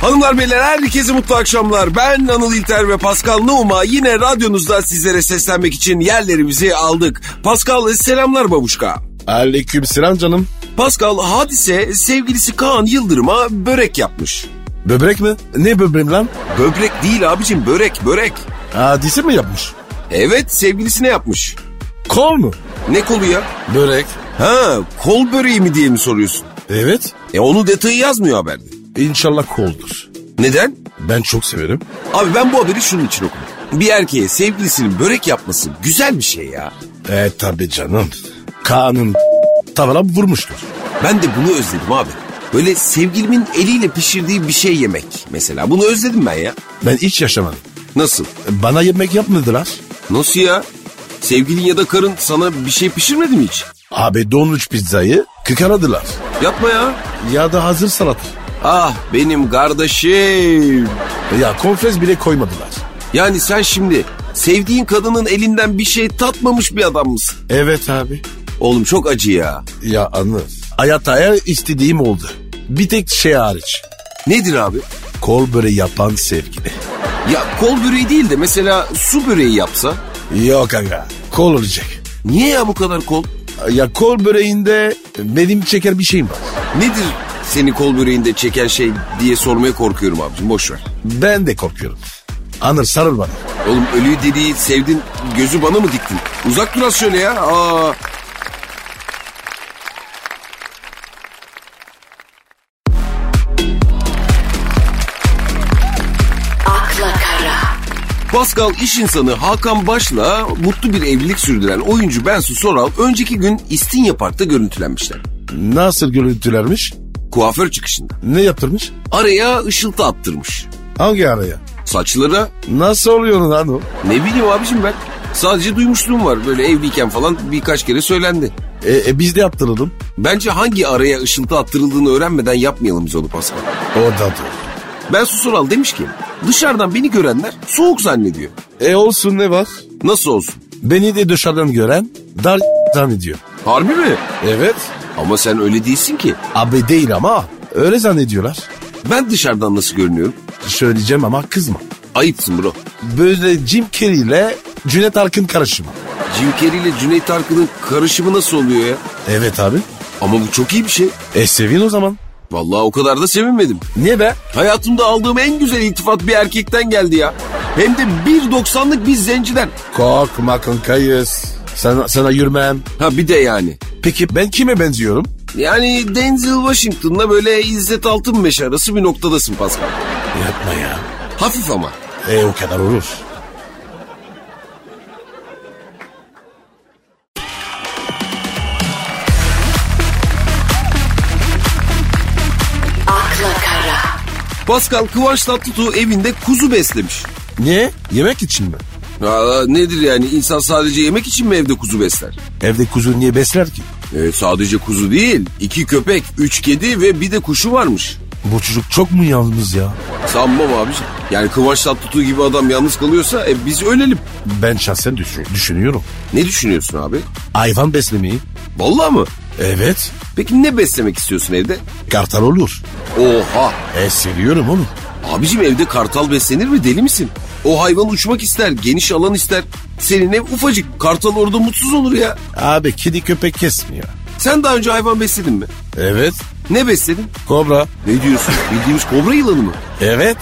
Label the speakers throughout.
Speaker 1: Hanımlar beyler herkese mutlu akşamlar. Ben Anıl İlter ve Pascal Numa yine radyonuzda sizlere seslenmek için yerlerimizi aldık. Pascal selamlar babuşka.
Speaker 2: Aleyküm selam canım.
Speaker 1: Pascal hadise sevgilisi Kaan Yıldırım'a börek yapmış.
Speaker 2: Böbrek mi? Ne böbreğim lan?
Speaker 1: Böbrek değil abicim börek börek.
Speaker 2: Hadise mi yapmış?
Speaker 1: Evet sevgilisine yapmış.
Speaker 2: Kol mu?
Speaker 1: Ne kolu ya?
Speaker 2: Börek.
Speaker 1: Ha kol böreği mi diye mi soruyorsun?
Speaker 2: Evet.
Speaker 1: E onu detayı yazmıyor haberde.
Speaker 2: İnşallah koldur.
Speaker 1: Neden?
Speaker 2: Ben çok severim.
Speaker 1: Abi ben bu haberi şunun için okudum. Bir erkeğe sevgilisinin börek yapması güzel bir şey ya.
Speaker 2: E tabi canım. Kaan'ın tavana vurmuştur.
Speaker 1: Ben de bunu özledim abi. Böyle sevgilimin eliyle pişirdiği bir şey yemek mesela. Bunu özledim ben ya.
Speaker 2: Ben hiç yaşamadım.
Speaker 1: Nasıl?
Speaker 2: Bana yemek yapmadılar.
Speaker 1: Nasıl ya? Sevgilin ya da karın sana bir şey pişirmedi mi hiç?
Speaker 2: Abi donmuş pizzayı kıkaradılar.
Speaker 1: Yapma ya.
Speaker 2: Ya da hazır salat.
Speaker 1: Ah benim kardeşim.
Speaker 2: Ya konfes bile koymadılar.
Speaker 1: Yani sen şimdi sevdiğin kadının elinden bir şey tatmamış bir adam mısın?
Speaker 2: Evet abi.
Speaker 1: Oğlum çok acı ya.
Speaker 2: Ya anı. Hayataya istediğim oldu. Bir tek şey hariç.
Speaker 1: Nedir abi?
Speaker 2: Kol böreği yapan sevgili.
Speaker 1: Ya kol böreği değil de mesela su böreği yapsa.
Speaker 2: Yok aga. Kol olacak.
Speaker 1: Niye ya bu kadar kol?
Speaker 2: Ya kol böreğinde benim çeker bir şeyim var.
Speaker 1: Nedir seni kol böreğinde çeken şey diye sormaya korkuyorum abicim boş ver.
Speaker 2: Ben de korkuyorum. Anır sarıl bana.
Speaker 1: Oğlum ölüyü dediği sevdin gözü bana mı diktin? Uzak biraz şöyle ya. Aa.
Speaker 3: akla kara,
Speaker 1: Pascal iş insanı Hakan Baş'la mutlu bir evlilik sürdüren oyuncu Bensu Soral önceki gün İstinye Park'ta görüntülenmişler.
Speaker 2: Nasıl görüntülermiş?
Speaker 1: Kuaför çıkışında.
Speaker 2: Ne yaptırmış?
Speaker 1: Araya ışıltı attırmış.
Speaker 2: Hangi araya?
Speaker 1: Saçlara
Speaker 2: Nasıl oluyor lan o?
Speaker 1: ne bileyim abicim ben. Sadece duymuşluğum var böyle evliyken falan birkaç kere söylendi.
Speaker 2: E, e, biz de yaptıralım.
Speaker 1: Bence hangi araya ışıltı attırıldığını öğrenmeden yapmayalım biz onu Pascal.
Speaker 2: O da doğru.
Speaker 1: Ben Susural demiş ki dışarıdan beni görenler soğuk zannediyor.
Speaker 2: E olsun ne var?
Speaker 1: Nasıl olsun?
Speaker 2: Beni de dışarıdan gören dar zannediyor.
Speaker 1: Harbi mi?
Speaker 2: Evet.
Speaker 1: Ama sen öyle değilsin ki.
Speaker 2: Abi değil ama öyle zannediyorlar.
Speaker 1: Ben dışarıdan nasıl görünüyorum?
Speaker 2: Söyleyeceğim ama kızma.
Speaker 1: Ayıpsın bro.
Speaker 2: Böyle Jim Carrey ile Cüneyt Arkın karışımı.
Speaker 1: Jim Carrey ile Cüneyt Arkın'ın karışımı nasıl oluyor ya?
Speaker 2: Evet abi.
Speaker 1: Ama bu çok iyi bir şey.
Speaker 2: E sevin o zaman.
Speaker 1: Vallahi o kadar da sevinmedim.
Speaker 2: Niye be?
Speaker 1: Hayatımda aldığım en güzel iltifat bir erkekten geldi ya. Hem de 1.90'lık bir zenciden.
Speaker 2: Korkma kankayız. Sana, sana yürümem.
Speaker 1: Ha bir de yani.
Speaker 2: Peki ben kime benziyorum?
Speaker 1: Yani Denzel Washington'la böyle İzzet Altınmeş arası bir noktadasın Pascal.
Speaker 2: Yapma ya.
Speaker 1: Hafif ama.
Speaker 2: E o kadar olur.
Speaker 3: akla kara,
Speaker 1: Pascal Kıvanç Tatlıtuğ evinde kuzu beslemiş.
Speaker 2: Niye? Yemek için mi?
Speaker 1: Aa, nedir yani insan sadece yemek için mi evde kuzu besler?
Speaker 2: Evde kuzu niye besler ki?
Speaker 1: Ee, sadece kuzu değil iki köpek, üç kedi ve bir de kuşu varmış.
Speaker 2: Bu çocuk çok mu yalnız ya?
Speaker 1: Sanmam abi. Yani Kıvanç Tatlıtuğ gibi adam yalnız kalıyorsa e, biz ölelim.
Speaker 2: Ben şahsen düşün, düşünüyorum.
Speaker 1: Ne düşünüyorsun abi?
Speaker 2: Hayvan beslemeyi.
Speaker 1: Vallahi mı?
Speaker 2: Evet.
Speaker 1: Peki ne beslemek istiyorsun evde?
Speaker 2: Kartal olur.
Speaker 1: Oha!
Speaker 2: E seviyorum onu.
Speaker 1: Abicim evde kartal beslenir mi deli misin? O hayvan uçmak ister, geniş alan ister. Senin ev ufacık, kartal orada mutsuz olur ya.
Speaker 2: Abi kedi köpek kesmiyor.
Speaker 1: Sen daha önce hayvan besledin mi?
Speaker 2: Evet.
Speaker 1: Ne besledin?
Speaker 2: Kobra.
Speaker 1: Ne diyorsun? Bildiğimiz kobra yılanı mı?
Speaker 2: Evet.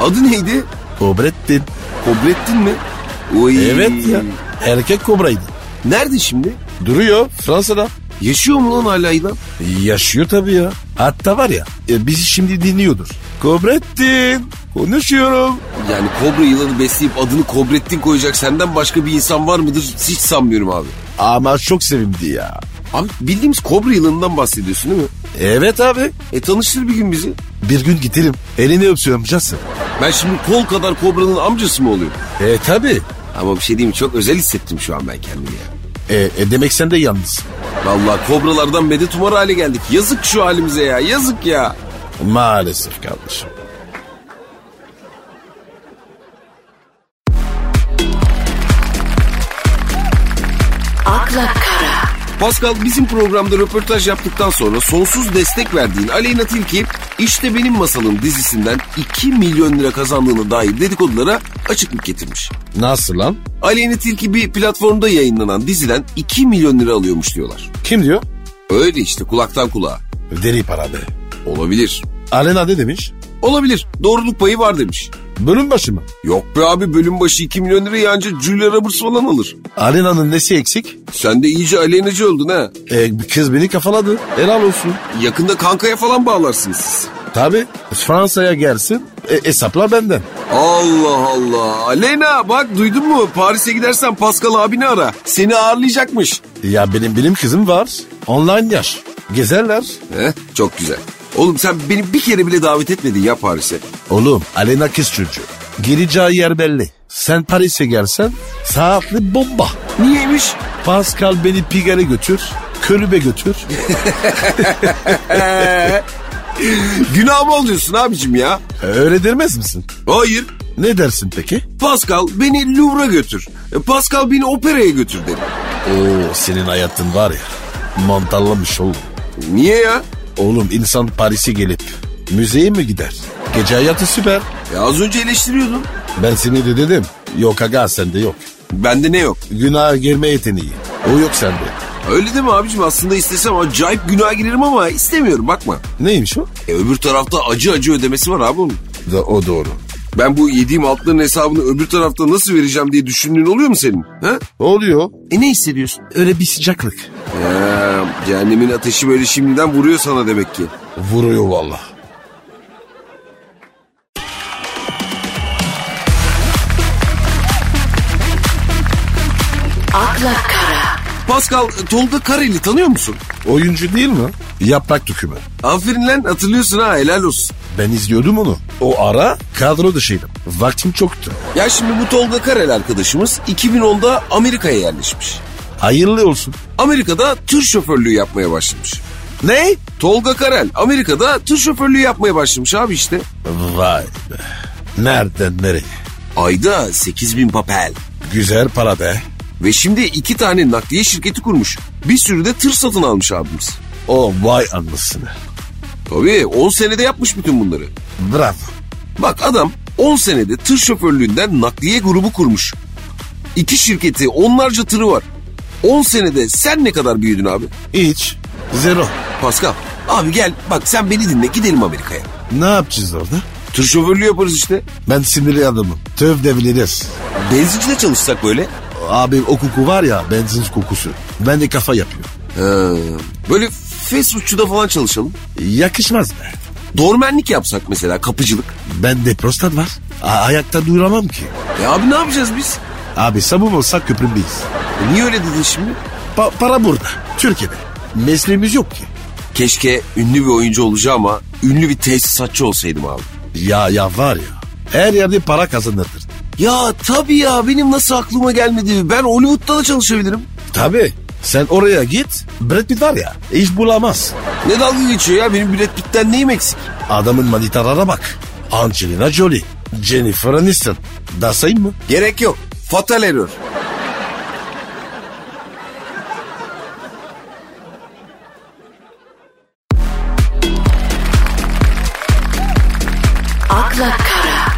Speaker 1: Adı neydi?
Speaker 2: Kobrettin.
Speaker 1: Kobrettin mi? Oy.
Speaker 2: Evet ya. Erkek kobraydı.
Speaker 1: Nerede şimdi?
Speaker 2: Duruyor Fransa'da.
Speaker 1: Yaşıyor mu lan hala yılan?
Speaker 2: Yaşıyor tabii ya. Hatta var ya e, bizi şimdi dinliyordur. Kobrettin konuşuyorum.
Speaker 1: Yani kobra yılanı besleyip adını Kobrettin koyacak senden başka bir insan var mıdır? Hiç sanmıyorum abi.
Speaker 2: Ama çok sevimli ya.
Speaker 1: Abi bildiğimiz kobra yılanından bahsediyorsun değil mi?
Speaker 2: Evet abi.
Speaker 1: E tanıştır bir gün bizi.
Speaker 2: Bir gün gidelim. Elini öpsüyorum amcası.
Speaker 1: Ben şimdi kol kadar kobranın amcası mı oluyorum?
Speaker 2: E tabi.
Speaker 1: Ama bir şey diyeyim mi? çok özel hissettim şu an ben kendimi ya.
Speaker 2: E, e, demek sen de yalnız.
Speaker 1: Vallahi kobralardan medet umar hale geldik. Yazık şu halimize ya yazık ya.
Speaker 2: Maalesef kardeşim.
Speaker 3: akla kara,
Speaker 1: Pascal bizim programda röportaj yaptıktan sonra sonsuz destek verdiğin Aleyna Tilki işte benim masalım dizisinden 2 milyon lira kazandığına dair dedikodulara açıklık getirmiş.
Speaker 2: Nasıl lan?
Speaker 1: Aleyna Tilki bir platformda yayınlanan diziden 2 milyon lira alıyormuş diyorlar.
Speaker 2: Kim diyor?
Speaker 1: Öyle işte kulaktan kulağa.
Speaker 2: Deli para be.
Speaker 1: Olabilir.
Speaker 2: Alena ne demiş?
Speaker 1: Olabilir. Doğruluk payı var demiş.
Speaker 2: Bölüm başı mı?
Speaker 1: Yok be abi bölüm başı 2 milyon lirayı anca Julia Roberts falan alır.
Speaker 2: Alena'nın nesi eksik?
Speaker 1: Sen de iyice aleynacı oldun ha.
Speaker 2: E, kız beni kafaladı. Helal olsun.
Speaker 1: Yakında kankaya falan bağlarsınız siz.
Speaker 2: Tabi Fransa'ya gelsin. E, hesapla benden.
Speaker 1: Allah Allah. Aleyna bak duydun mu? Paris'e gidersen Pascal abini ara. Seni ağırlayacakmış.
Speaker 2: Ya benim benim kızım var. Online yaş. Gezerler.
Speaker 1: Heh, çok güzel. Oğlum sen beni bir kere bile davet etmedin ya Paris'e.
Speaker 2: Oğlum Alena kız çocuğu. Geleceği yer belli. Sen Paris'e gelsen saatli bomba.
Speaker 1: Niyeymiş?
Speaker 2: Pascal beni Pigalle götür. Kulübe götür.
Speaker 1: Günah mı oluyorsun abicim ya?
Speaker 2: Öyle demez misin?
Speaker 1: Hayır.
Speaker 2: Ne dersin peki?
Speaker 1: Pascal beni Louvre'a götür. E, Pascal beni operaya götür dedi.
Speaker 2: Oo senin hayatın var ya. Mantarlamış oğlum.
Speaker 1: Niye ya?
Speaker 2: Oğlum insan Paris'e gelip müzeye mi gider? Gece hayatı süper.
Speaker 1: Ya E, az önce eleştiriyordun.
Speaker 2: Ben seni de dedim. Yok aga sende yok.
Speaker 1: Bende ne yok?
Speaker 2: Günah girme yeteneği. O yok sende.
Speaker 1: Öyle değil mi abicim? Aslında istesem acayip günaha girerim ama istemiyorum bakma.
Speaker 2: Neymiş o?
Speaker 1: E, öbür tarafta acı acı ödemesi var abi onun.
Speaker 2: Da, o doğru.
Speaker 1: Ben bu yediğim altların hesabını öbür tarafta nasıl vereceğim diye düşündüğün oluyor mu senin? Ha?
Speaker 2: Oluyor.
Speaker 1: E ne hissediyorsun?
Speaker 2: Öyle bir sıcaklık.
Speaker 1: Ha, cehennemin ateşi böyle şimdiden vuruyor sana demek ki.
Speaker 2: Vuruyor valla.
Speaker 3: akla kara,
Speaker 1: Pascal e, Tolga Kareli tanıyor musun?
Speaker 2: Oyuncu değil mi? Yaprak dökümü.
Speaker 1: Aferin lan hatırlıyorsun ha helal olsun.
Speaker 2: Ben izliyordum onu. O ara kadro dışıydım. Vaktim çoktu.
Speaker 1: Ya şimdi bu Tolga Karel arkadaşımız 2010'da Amerika'ya yerleşmiş.
Speaker 2: Hayırlı olsun.
Speaker 1: Amerika'da tır şoförlüğü yapmaya başlamış.
Speaker 2: Ne?
Speaker 1: Tolga Karel Amerika'da tır şoförlüğü yapmaya başlamış abi işte.
Speaker 2: Vay be. Nereden nereye?
Speaker 1: Ayda 8000 papel.
Speaker 2: Güzel para be.
Speaker 1: Ve şimdi iki tane nakliye şirketi kurmuş. Bir sürü de tır satın almış abimiz.
Speaker 2: O vay anasını.
Speaker 1: Tabii 10 senede yapmış bütün bunları.
Speaker 2: Bravo.
Speaker 1: Bak adam 10 senede tır şoförlüğünden nakliye grubu kurmuş. İki şirketi onlarca tırı var. 10 senede sen ne kadar büyüdün abi?
Speaker 2: Hiç. Zero.
Speaker 1: Pascal abi gel bak sen beni dinle gidelim Amerika'ya.
Speaker 2: Ne yapacağız orada?
Speaker 1: Tır şoförlüğü yaparız işte.
Speaker 2: Ben sinirli adamım. Töv deviliriz.
Speaker 1: Benzincide çalışsak böyle.
Speaker 2: Abi o koku var ya benzin kokusu. Ben de kafa yapıyor.
Speaker 1: Ha, Ee, böyle fast foodçuda falan çalışalım.
Speaker 2: Yakışmaz be.
Speaker 1: Dormenlik yapsak mesela kapıcılık.
Speaker 2: Ben de prostat var. A- ayakta duramam ki.
Speaker 1: E abi ne yapacağız biz?
Speaker 2: Abi sabun olsa köprümdeyiz.
Speaker 1: E niye öyle dedin şimdi?
Speaker 2: Pa- para burada. Türkiye'de. Mesleğimiz yok ki.
Speaker 1: Keşke ünlü bir oyuncu olacağım ama ünlü bir tesisatçı olsaydım abi.
Speaker 2: Ya ya var ya. Her yerde para kazanırdır.
Speaker 1: Ya tabii ya benim nasıl aklıma gelmedi. Ben Hollywood'da da çalışabilirim.
Speaker 2: Tabii. Sen oraya git. Brad Pitt var ya. iş bulamaz.
Speaker 1: Ne dalga geçiyor ya benim Brad Pitt'ten neyim eksik?
Speaker 2: Adamın manitalara bak. Angelina Jolie. Jennifer Aniston. Daha sayayım mı?
Speaker 1: Gerek yok. Fatal error.
Speaker 3: akla kara,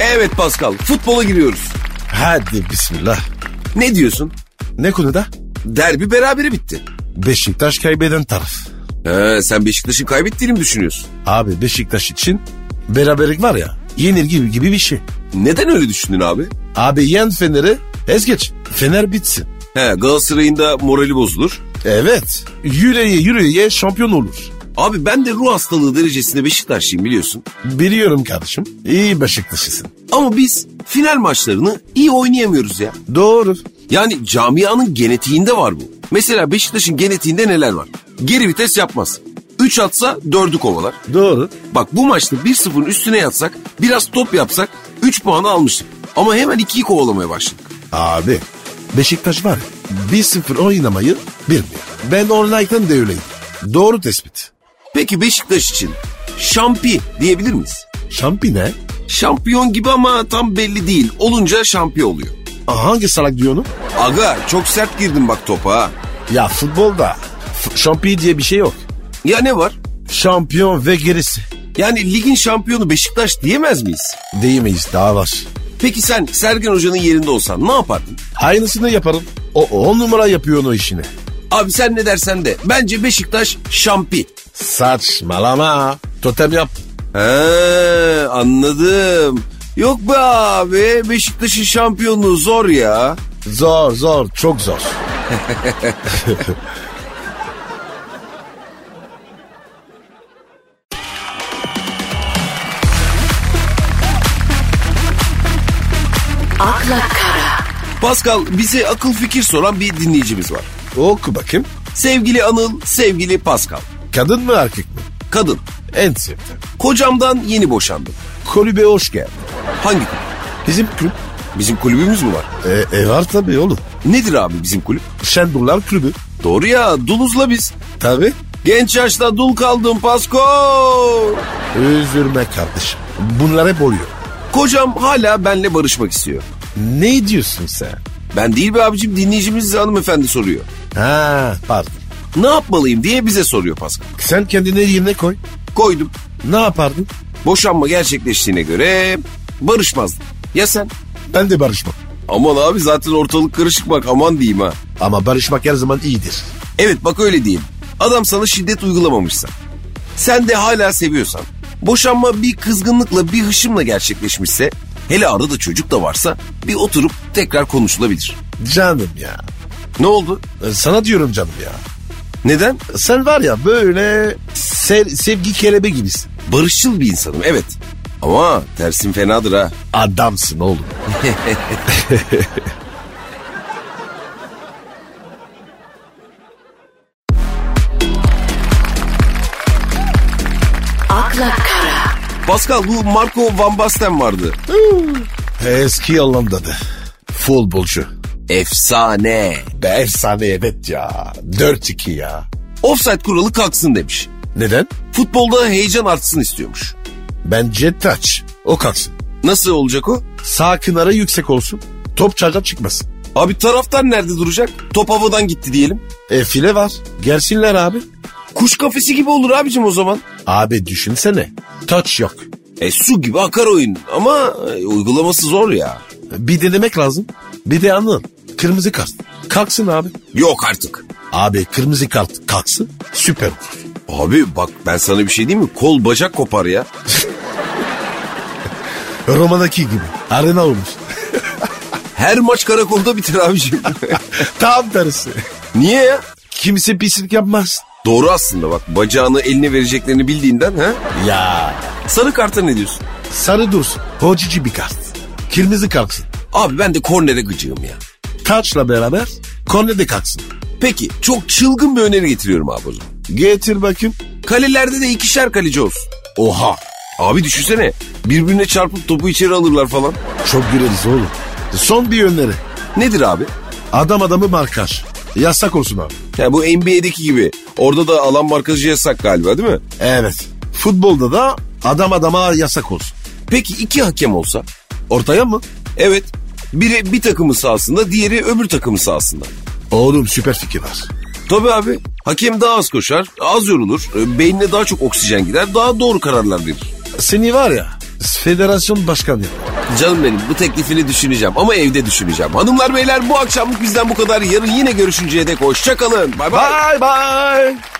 Speaker 1: Evet Pascal futbola giriyoruz.
Speaker 2: Hadi bismillah.
Speaker 1: Ne diyorsun?
Speaker 2: Ne konuda?
Speaker 1: Derbi berabere bitti.
Speaker 2: Beşiktaş kaybeden taraf.
Speaker 1: He, sen Beşiktaş'ın kaybettiğini mi düşünüyorsun?
Speaker 2: Abi Beşiktaş için beraberlik var ya yenilgi gibi bir şey.
Speaker 1: Neden öyle düşündün abi?
Speaker 2: Abi yen Fener'i ez geç. Fener bitsin.
Speaker 1: He, Galatasaray'ın da morali bozulur.
Speaker 2: Evet. Yüreğe yüreğe şampiyon olur.
Speaker 1: Abi ben de ruh hastalığı derecesinde Beşiktaşlıyım biliyorsun.
Speaker 2: Biliyorum kardeşim. İyi Beşiktaş'ısın.
Speaker 1: Ama biz final maçlarını iyi oynayamıyoruz ya.
Speaker 2: Doğru.
Speaker 1: Yani camianın genetiğinde var bu. Mesela Beşiktaş'ın genetiğinde neler var? Geri vites yapmaz. 3 atsa 4'ü kovalar.
Speaker 2: Doğru.
Speaker 1: Bak bu maçta 1-0'ın üstüne yatsak, biraz top yapsak 3 puanı almıştık. Ama hemen 2'yi kovalamaya başladık.
Speaker 2: Abi Beşiktaş var ya 1-0 oynamayı bilmiyor. Ben online'dan da öyleyim. Doğru tespit.
Speaker 1: Peki Beşiktaş için şampi diyebilir miyiz?
Speaker 2: Şampine.
Speaker 1: Şampiyon gibi ama tam belli değil. Olunca şampiyon oluyor.
Speaker 2: Aa, Hangi salak diyor onu?
Speaker 1: Aga çok sert girdin bak topa ha.
Speaker 2: Ya futbolda f- şampiyon diye bir şey yok.
Speaker 1: Ya ne var?
Speaker 2: Şampiyon ve gerisi.
Speaker 1: Yani ligin şampiyonu Beşiktaş diyemez miyiz?
Speaker 2: Diyemeyiz daha var.
Speaker 1: Peki sen Sergen Hoca'nın yerinde olsan ne yapardın?
Speaker 2: Aynısını yaparım. O on numara yapıyor o işini.
Speaker 1: Abi sen ne dersen de bence Beşiktaş şampi.
Speaker 2: Saçmalama. Totem yap.
Speaker 1: He anladım. Yok be abi Beşiktaş'ın şampiyonluğu zor ya.
Speaker 2: Zor zor çok zor.
Speaker 3: akla kara,
Speaker 1: Pascal bize akıl fikir soran bir dinleyicimiz var.
Speaker 2: Oku bakayım.
Speaker 1: Sevgili Anıl, sevgili Pascal.
Speaker 2: Kadın mı erkek mi?
Speaker 1: Kadın,
Speaker 2: En sevdiğim.
Speaker 1: kocamdan yeni boşandım.
Speaker 2: Kulübe hoş geldin.
Speaker 1: Hangi kulüp?
Speaker 2: Bizim kulüp.
Speaker 1: Bizim kulübümüz mü var?
Speaker 2: E, e var tabii oğlum.
Speaker 1: Nedir abi bizim kulüp?
Speaker 2: Şendurlar kulübü.
Speaker 1: Doğru ya, duluzla biz.
Speaker 2: Tabii.
Speaker 1: Genç yaşta dul kaldım Pasko.
Speaker 2: Üzülme kardeşim. Bunlar hep oluyor.
Speaker 1: Kocam hala benle barışmak istiyor.
Speaker 2: Ne diyorsun sen?
Speaker 1: Ben değil be abicim dinleyicimiz hanımefendi soruyor.
Speaker 2: Ha pardon.
Speaker 1: Ne yapmalıyım diye bize soruyor Pascal.
Speaker 2: Sen kendini yerine koy.
Speaker 1: Koydum.
Speaker 2: Ne yapardın?
Speaker 1: Boşanma gerçekleştiğine göre barışmazdım. Ya sen?
Speaker 2: Ben de barışmam.
Speaker 1: Aman abi zaten ortalık karışık bak aman diyeyim ha.
Speaker 2: Ama barışmak her zaman iyidir.
Speaker 1: Evet bak öyle diyeyim. Adam sana şiddet uygulamamışsa. Sen de hala seviyorsan. Boşanma bir kızgınlıkla bir hışımla gerçekleşmişse. Hele arada çocuk da varsa bir oturup tekrar konuşulabilir.
Speaker 2: Canım ya.
Speaker 1: Ne oldu?
Speaker 2: E, Sana diyorum canım ya.
Speaker 1: Neden?
Speaker 2: Sen var ya böyle se- sevgi kelebe gibisin.
Speaker 1: Barışçıl bir insanım evet. Ama tersin fenadır ha.
Speaker 2: Adamsın oğlum.
Speaker 3: akla kara,
Speaker 1: Pascal bu Marco Van Basten vardı.
Speaker 2: Eski Hollanda'da. Futbolcu.
Speaker 1: Efsane.
Speaker 2: Be efsane evet ya. 4-2 ya.
Speaker 1: Offside kuralı kalksın demiş.
Speaker 2: Neden?
Speaker 1: Futbolda heyecan artsın istiyormuş.
Speaker 2: Bence taç. O kalksın.
Speaker 1: Nasıl olacak o?
Speaker 2: Sağ kınara yüksek olsun. Top çarşaf çıkmasın.
Speaker 1: Abi taraftar nerede duracak? Top havadan gitti diyelim.
Speaker 2: E file var. Gelsinler abi.
Speaker 1: Kuş kafesi gibi olur abicim o zaman.
Speaker 2: Abi düşünsene. Taç yok.
Speaker 1: E su gibi akar oyun ama e, uygulaması zor ya.
Speaker 2: Bir denemek lazım. Bir de anladın. Kırmızı kart. Kalksın abi.
Speaker 1: Yok artık.
Speaker 2: Abi kırmızı kart kalksın. Süper olur.
Speaker 1: Abi bak ben sana bir şey diyeyim mi? Kol bacak kopar ya.
Speaker 2: Roma'daki gibi. Arena olmuş.
Speaker 1: Her maç karakolda biter abicim.
Speaker 2: Tam tersi.
Speaker 1: Niye ya?
Speaker 2: Kimse pislik yapmaz.
Speaker 1: Doğru aslında bak bacağını eline vereceklerini bildiğinden ha?
Speaker 2: Ya.
Speaker 1: Sarı karta ne diyorsun?
Speaker 2: Sarı dursun. Hocici bir kart. Kırmızı kalksın.
Speaker 1: Abi ben de kornere gıcığım ya.
Speaker 2: Taçla beraber korne de kalksın.
Speaker 1: Peki çok çılgın bir öneri getiriyorum abi o zaman.
Speaker 2: Getir bakayım.
Speaker 1: Kalelerde de ikişer kaleci olsun.
Speaker 2: Oha.
Speaker 1: Abi düşünsene birbirine çarpıp topu içeri alırlar falan.
Speaker 2: Çok güleriz oğlum. Son bir öneri.
Speaker 1: Nedir abi?
Speaker 2: Adam adamı markaj. Yasak olsun abi.
Speaker 1: Yani bu NBA'deki gibi. Orada da alan markacı yasak galiba değil mi?
Speaker 2: Evet. Futbolda da adam adama yasak olsun.
Speaker 1: Peki iki hakem olsa?
Speaker 2: Ortaya mı?
Speaker 1: Evet. Biri bir takımın sahasında, diğeri öbür takımın sahasında.
Speaker 2: Oğlum süper fikir var.
Speaker 1: Tabii abi. Hakem daha az koşar, az yorulur, e, beynine daha çok oksijen gider, daha doğru kararlar verir.
Speaker 2: Seni var ya federasyon başkanı.
Speaker 1: Canım benim bu teklifini düşüneceğim ama evde düşüneceğim. Hanımlar beyler bu akşamlık bizden bu kadar. Yarın yine görüşünceye dek hoşçakalın. Bay bay.
Speaker 2: Bye bye.